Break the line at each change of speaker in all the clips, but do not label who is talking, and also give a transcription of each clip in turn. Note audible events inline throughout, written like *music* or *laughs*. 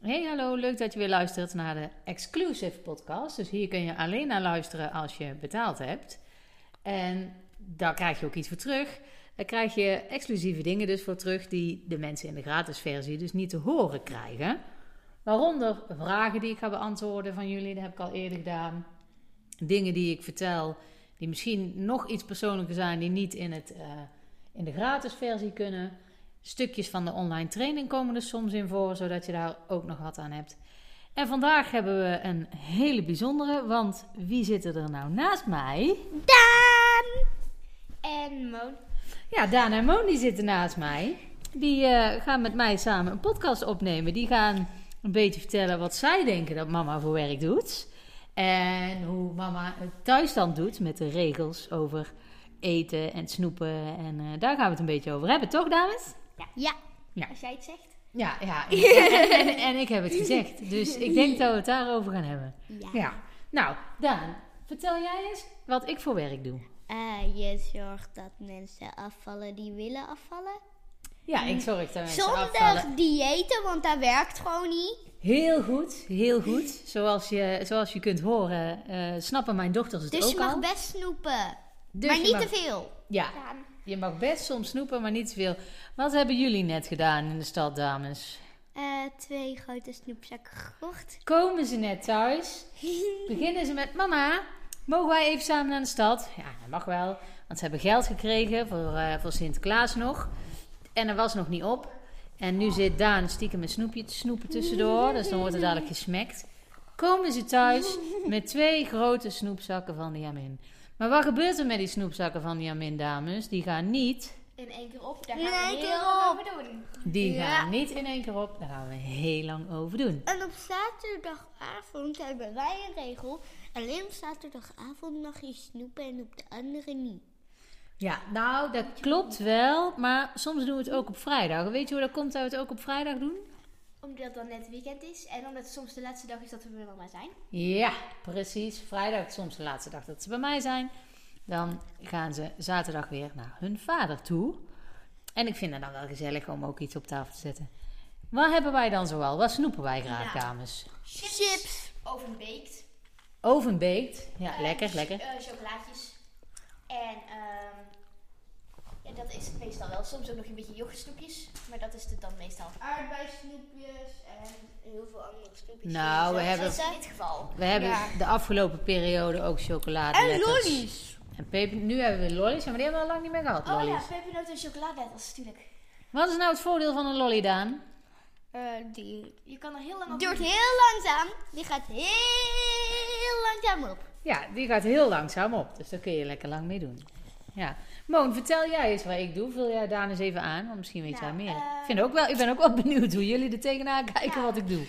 Hey hallo, leuk dat je weer luistert naar de Exclusive Podcast. Dus hier kun je alleen naar luisteren als je betaald hebt. En daar krijg je ook iets voor terug. Daar krijg je exclusieve dingen dus voor terug die de mensen in de gratis versie dus niet te horen krijgen. Waaronder vragen die ik ga beantwoorden van jullie, dat heb ik al eerder gedaan. Dingen die ik vertel die misschien nog iets persoonlijker zijn die niet in, het, eh, in de gratis versie kunnen. Stukjes van de online training komen er soms in voor, zodat je daar ook nog wat aan hebt. En vandaag hebben we een hele bijzondere, want wie zit er nou naast mij?
Daan! En Moon.
Ja, Daan en Moon die zitten naast mij. Die eh, gaan met mij samen een podcast opnemen. Die gaan een beetje vertellen wat zij denken dat mama voor werk doet. En hoe mama het thuis dan doet met de regels over eten en snoepen. En eh, daar gaan we het een beetje over hebben, toch dames?
Ja.
Ja.
Als jij het zegt.
Ja, *laughs* ja. En, en, en ik heb het gezegd. Dus ik denk dat we het daarover gaan hebben.
Ja.
Ja. Nou, Daan, vertel jij eens wat ik voor werk doe.
Eh, je zorgt dat mensen afvallen die willen afvallen.
Ja, ik zorg dat mensen
Zonder
Eh, afvallen.
diëten, want dat werkt gewoon niet.
Heel goed, heel goed. Zoals je, zoals je kunt horen, eh, snappen mijn dochters het
Dus
ook
je mag
al.
best snoepen.
Dus
maar
je
niet
mag-
te veel.
Ja, je mag best soms snoepen, maar niet te veel. Wat hebben jullie net gedaan in de stad, dames?
Eh, twee grote snoepzakken gekocht.
Komen ze net thuis? Beginnen ze met, mama, mogen wij even samen naar de stad? Ja, dat mag wel, want ze hebben geld gekregen voor, eh, voor Sinterklaas nog. En er was nog niet op. En nu zit Daan stiekem een snoepje te snoepen tussendoor, dus dan wordt het dadelijk gesmekt. Komen ze thuis met twee grote snoepzakken van de Jamin. Maar wat gebeurt er met die snoepzakken van de Jamin, dames? Die gaan niet
In één keer op, daar
In
gaan we
één
heel
keer
lang over doen.
Die
Ja.
gaan niet in één keer op. Daar gaan we heel lang over doen.
En op zaterdagavond hebben wij een regel. Alleen op zaterdagavond mag je snoepen en op de andere niet.
Ja, nou, dat klopt wel. Maar soms doen we het ook op vrijdag. Weet je hoe dat komt dat we het ook op vrijdag doen?
Omdat het dan net weekend is en omdat het soms de laatste dag is dat we er nog maar zijn.
Ja, precies. Vrijdag, soms de laatste dag dat ze bij mij zijn. Dan gaan ze zaterdag weer naar hun vader toe. En ik vind het dan wel gezellig om ook iets op tafel te zetten. Wat hebben wij dan zoal? Wat snoepen wij graag,
Ja.
dames?
Chips. Ovenbeekt.
Ovenbeekt. Ja,
Eh,
lekker,
ch-
lekker.
eh, chocolaatjes. En ehm, ja, dat is het meestal wel. Soms ook nog een beetje yoghurtsnoepjes. Maar dat is het dan meestal.
Aardbeisnoepjes en heel veel andere snoepjes.
Nou, we hebben,
Zoals in dit geval.
we hebben de afgelopen periode ook chocolade.
En lollies.
En peper, nu hebben we lollies, maar die hebben we al lang niet meer gehad,
Oh
lollies.
ja, pepernoten en chocoladeletters natuurlijk.
Wat is nou het voordeel van een lolly, Daan?
Eh, die
Je kan er heel lang op
duurt heel langzaam. Die gaat heel langzaam op.
Ja, die gaat heel langzaam op, dus daar kun je lekker lang mee doen. Ja. Moon, vertel jij eens wat ik doe. Vul jij Daan eens even aan, want misschien weet
Nou,
jij meer.
eh,
Ik, vind ook wel, ik ben ook wel *laughs* benieuwd hoe jullie er tegenaan kijken
Ja.
wat ik doe.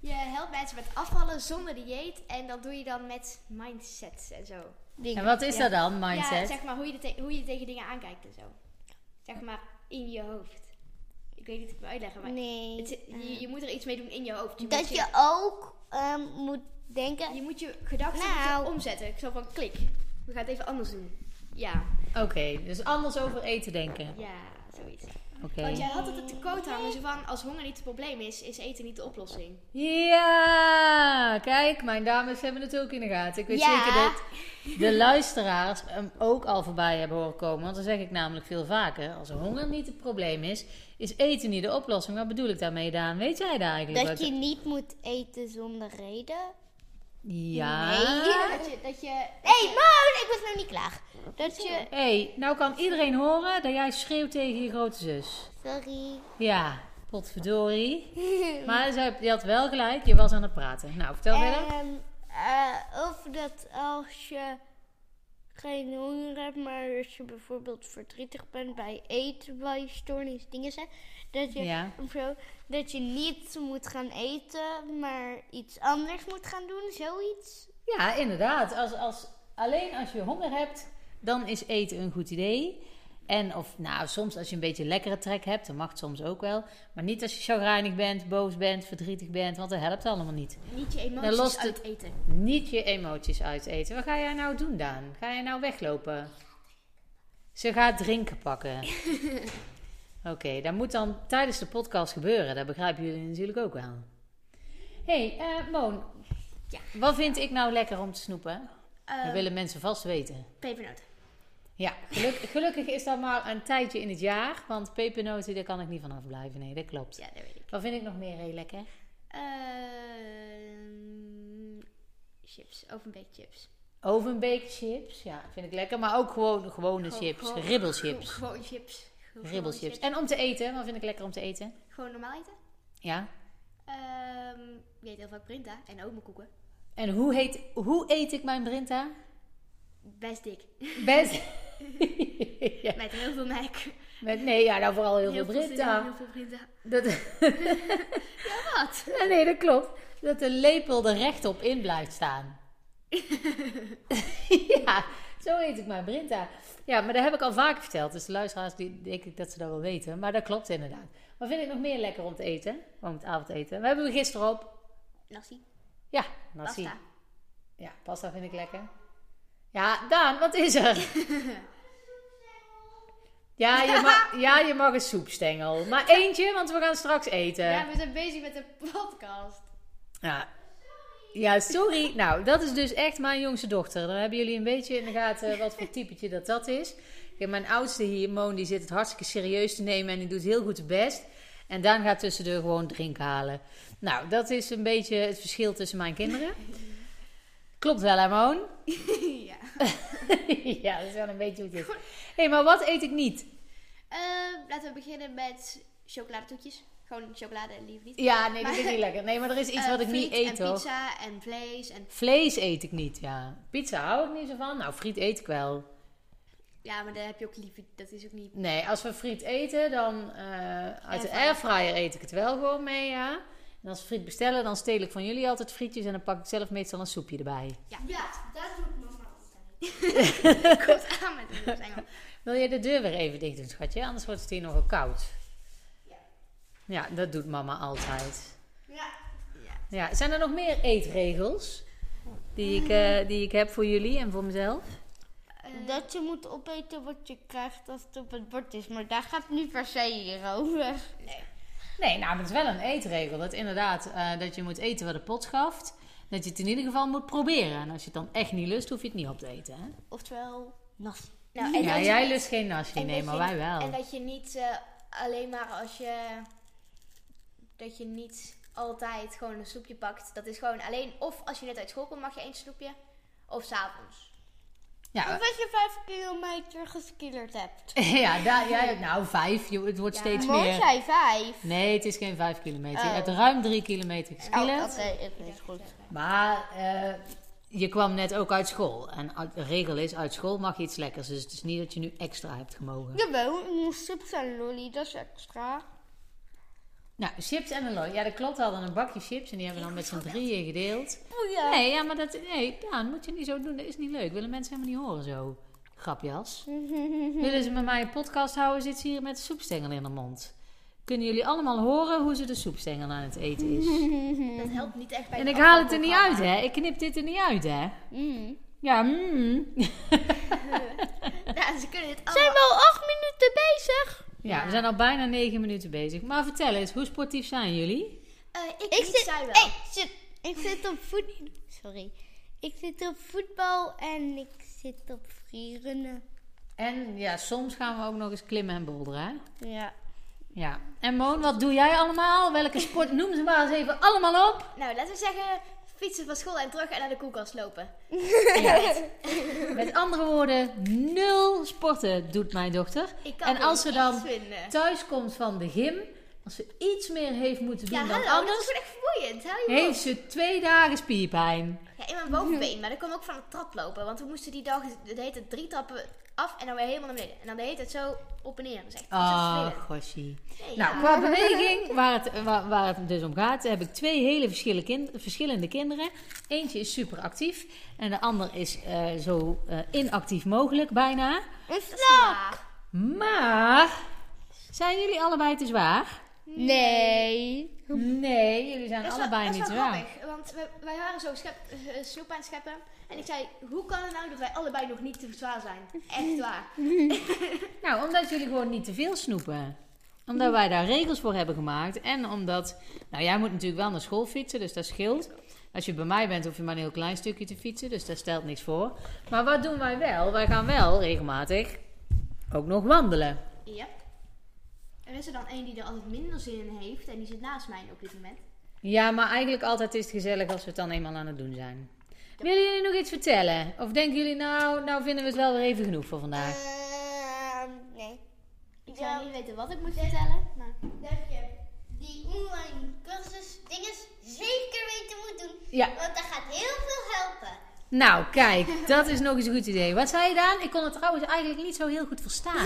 Je helpt mensen met afvallen zonder dieet. En dat doe je dan met mindsets en zo.
En wat is
Ja.
dat dan,
Ja,
mindset?
zeg maar hoe je, te- hoe je tegen dingen aankijkt en zo. Zeg maar in je hoofd. Ik weet niet hoe ik het moet uitleggen, maar
Nee.
het zit-
Eh.
je, je moet er iets mee doen in je hoofd. Je
dat
moet
je ook ehm, moet denken.
je, moet je gedachten
Nou.
moeten omzetten. Ik zal van klik. We gaan het even anders doen. Ja,
Oké, dus anders over eten denken.
ja, Oh, zoiets.
Oké.
Want jij had het te koot hangen, zo van als honger niet het probleem is, is eten niet de oplossing.
Ja, kijk, mijn dames hebben het ook in de gaten. Ik weet
Ja.
zeker dat de luisteraars hem ook al voorbij hebben horen komen. Want dan zeg ik namelijk veel vaker: als honger niet het probleem is, is eten niet de oplossing. Wat bedoel ik daarmee, Daan? Weet jij daar eigenlijk
Dat
wat-
je niet moet eten zonder reden.
Ja.
Nee.
Dat je, dat je,
Nee, Moon, ik was nog niet klaar. Dat je.
Hé, hey, nou kan iedereen horen dat jij schreeuwt tegen je grote zus.
Sorry.
Ja, potverdorie. Maar ze, je had wel gelijk, je was aan het praten. Nou, vertel verder.
Ehm, eh, of dat als je geen honger hebt, maar als je bijvoorbeeld verdrietig bent bij eten, bij stoornis, dingen zijn, dat je,
Ja.
of zo, dat je niet moet gaan eten, maar iets anders moet gaan doen, zoiets.
Ja, inderdaad. Als, als, alleen als je honger hebt, dan is eten een goed idee. En of, nou, soms als je een beetje lekkere trek hebt, dan mag het soms ook wel. Maar niet als je chagrijnig bent, boos bent, verdrietig bent, want dat helpt allemaal niet.
niet je
Dan lost
emoties
het-
uit eten.
Niet je emoties uiteten. Wat ga jij nou doen, Daan? Ga jij nou weglopen? Ze gaat drinken pakken. Oké, dat moet dan tijdens de podcast gebeuren. Dat begrijpen jullie natuurlijk ook wel. hey, eh, Moon.
Ja.
Wat vind ik nou lekker om te snoepen?
Ehm,
Dat willen mensen vast weten.
Pepernoten.
Ja, geluk- gelukkig is dat maar een tijdje in het jaar. Want pepernoten, daar kan ik niet van afblijven. Nee, dat klopt.
Ja, dat weet ik.
Wat vind ik nog meer heel lekker?
Ehm, chips. Ovenbaked chips.
Ovenbaked chips, ja, vind ik lekker. Maar ook gewoon gewone
Gewoon-
chips,
gewoon-
ribbelchips.
Gewoon chips. Gewoon
Ribbelchips. En om te eten, wat vind ik lekker om te eten?
Gewoon normaal eten.
Ja.
Ehm, je eet heel vaak Brinta en ook mijn koeken.
En hoe, heet, hoe eet ik mijn Brinta?
Best dik.
*laughs* Best. Ja,
Met heel veel melk.
Met, nee, ja, nou vooral heel, veel
vanille,
Brinta.
Heel veel Brinta.
Dat,
*laughs* Wat?
Ja, *laughs* nee, dat klopt. Dat de lepel er rechtop in blijft
*laughs*
staan. ja, zo eet ik mijn Brinta. Ja, maar dat heb ik al vaker verteld. Dus de luisteraars, die, denk ik dat ze dat wel weten. Maar dat klopt inderdaad. Wat vind ik nog meer lekker om te eten? Om het avondeten. We hebben we gisteren op.
Nasi.
Ja, nasi.
Pasta.
Ja, pasta vind ik lekker. Ja, Daan, wat is
*laughs*
er? Ja je, mag, ja, je mag een soepstengel. Maar eentje, want we gaan straks eten.
Ja, we zijn bezig met de podcast.
Ja. Ja, sorry. Nou, dat is dus echt mijn jongste dochter. Dan hebben jullie een beetje in de gaten wat voor typetje dat dat is. Kijk, mijn oudste hier, Moon, die zit het hartstikke serieus te nemen en die doet heel goed zijn best. En Daan gaat tussendoor gewoon drinken halen. Nou, dat is een beetje het verschil tussen mijn kinderen. Klopt wel, hè, Moon?
*laughs* ja.
*laughs* ja, dat is wel een beetje hoe het is. Hé, hey, maar wat eet ik niet?
Ehm, laten we beginnen met chocoladetoetjes. Gewoon chocolade, liever niet.
Ja, nee, dat
Maar-
vind ik niet lekker. Nee, maar er is iets
Eh,
wat ik niet
friet
eet,
en
hoor.
pizza en vlees en...
Vlees eet ik niet, ja. Pizza hou ik niet zo van. Nou, friet eet ik wel.
Ja, maar daar heb je ook liever... Dat is ook niet...
Nee, als we friet eten, dan eh, uit de
Airfryer.
airfryer eet ik het wel gewoon mee, ja. En als we friet bestellen, dan steel ik van jullie altijd frietjes en dan pak ik zelf meestal een soepje erbij.
Ja,
Ja, dat doet mama altijd.
*laughs*
*laughs*
komt aan met de Engels.
Wil je de deur weer even dicht doen, schatje? Anders wordt het hier nogal koud. Ja, dat doet mama altijd.
Ja.
Ja, zijn er nog meer eetregels die ik, eh, die ik heb voor jullie en voor mezelf?
Eh, Dat je moet opeten wat je krijgt als het op het bord is. Maar daar gaat het niet per se hier over.
Nee, nou, maar het is wel een eetregel. Dat inderdaad, eh, dat je moet eten wat de pot schaft. Dat je het in ieder geval moet proberen. En als je het dan echt niet lust, hoef je het niet op te eten, hè?
Oftewel...
Nasi.
Nou,
ja,
dat je-
jij lust geen nasi,
en
nee,
dat
maar
je-
wij wel.
En dat je niet eh, alleen maar als je... Dat je niet altijd gewoon een soepje pakt. Dat is gewoon alleen... Of als je net uit school komt, mag je één snoepje. Of s'avonds. *laughs*
ja,
Of als je vijf kilometer geskillerd hebt.
*laughs* ja, daar, jij- nou, vijf, joh, het wordt
Ja.
steeds
Mooi
meer.
zei vijf.
Nee, het is geen vijf kilometer.
Oh.
Je hebt ruim drie kilometer
Oh,
geskillerd.
oké, het is goed.
Maar eh, je kwam net ook uit school. En uit- de regel is, uit school mag je iets lekkers. Dus het is niet dat je nu extra hebt gemogen.
Jawel, ik moest chips en lolly, dat is extra.
Nou, chips en een lolly. Ja, dat klopt. We hadden een bakje chips en die hebben we dan met z'n drieën gedeeld.
Boeien.
Nee, ja, maar dat, nee, ja, dat moet je niet zo doen. Dat is niet leuk. Willen mensen helemaal niet horen zo. Grapjas.
*laughs*
Willen ze met mij een podcast houden, zit ze hier met de soepstengel in de mond. Kunnen jullie allemaal horen hoe ze de soepstengel aan het eten *laughs* is?
Dat helpt niet echt bij
En
het
ik haal het er niet uit,
afvalprogramma.
hè? Ik knip dit er niet uit, hè?
Mm.
Ja, *laughs* mm.
Ja, ze kunnen dit
Zijn
allemaal...
we al acht minuten bezig?
Ja, we zijn al bijna negen minuten bezig. Maar vertel eens, hoe sportief zijn jullie?
Eh, ik
Ik
niet,
zit,
zij wel.
ik zit, ik zit op voet, sorry. Ik zit op voetbal en ik zit op vrierennen.
En ja, soms gaan we ook nog eens klimmen en boulderen, hè?
Ja.
Ja. En Moon, wat doe jij allemaal? Welke sport? Noem ze maar eens even allemaal op.
Nou, laten we zeggen, fietsen van school en terug en naar de koelkast lopen.
Met andere woorden, nul sporten doet mijn dochter.
Ik kan
En
er
als ze
iets
dan
vinden.
thuis komt van de gym, als ze iets meer heeft moeten doen
Ja,
dan
hallo, dat
anders,
is gewoon echt vermoeiend. Hou je op.
heeft ze twee dagen spierpijn.
Ja, in mijn bovenbeen, maar dat kwam ook van de trap lopen. Want we moesten die dag, de heet het drie trappen af en dan weer helemaal naar beneden. En dan deed het zo op en neer. Dat is echt ontzettend
Oh,
vervelend.
goshie.
Nee,
Nou,
ja.
qua beweging, waar het, waar, waar het dus om gaat, heb ik twee hele verschillende, kind- verschillende kinderen. Eentje is super actief en de ander is eh, zo eh, inactief mogelijk bijna.
Een
Dat is niet
slak?
waar.
Maar, zijn jullie allebei te zwaar?
Nee.
Nee, jullie zijn
Dat is wel,
allebei
dat is
niet
wel
zwaar.
grappig, want we- wij waren zo schep, eh, snoep aan het scheppen. En ik zei, hoe kan het nou dat wij allebei nog
*laughs*
niet te zwaar zijn? Echt waar.
Nou, omdat jullie gewoon niet te veel snoepen. Omdat wij daar regels voor hebben gemaakt. En omdat, nou jij moet natuurlijk wel naar school fietsen, dus dat scheelt. Als je bij mij bent, hoef je maar een heel klein stukje te fietsen, dus daar stelt niks voor. Maar wat doen wij wel? Wij gaan wel regelmatig ook nog wandelen.
Ja. Er is er dan één die er altijd minder zin in heeft en die zit naast mij op dit moment.
Ja, maar eigenlijk altijd is het gezellig als we het dan eenmaal aan het doen zijn. Willen jullie nog iets vertellen? Of denken jullie, nou, nou vinden we het wel weer even genoeg voor vandaag?
Ehm, nee.
Ik zou
Ja.
niet weten wat ik moet vertellen, maar...
Dat je die online cursus dinges zeker weten moet doen.
Ja.
Want dat gaat heel veel helpen.
Nou, kijk, dat is nog eens een goed idee. Wat zei je Daan? Ik kon het trouwens eigenlijk niet zo heel goed verstaan.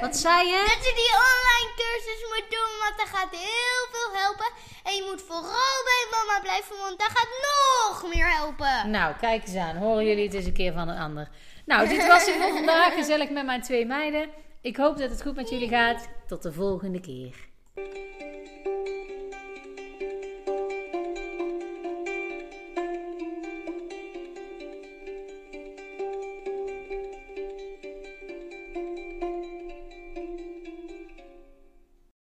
Wat zei je?
Dat je die online cursus moet doen, want dat gaat heel veel helpen. En je moet vooral bij mama blijven, want dat gaat nog meer helpen.
Nou, kijk eens aan. Horen jullie het eens een keer van een ander. Nou, dit was het voor vandaag. Gezellig met mijn twee meiden. Ik hoop dat het goed met jullie gaat. Tot de volgende keer.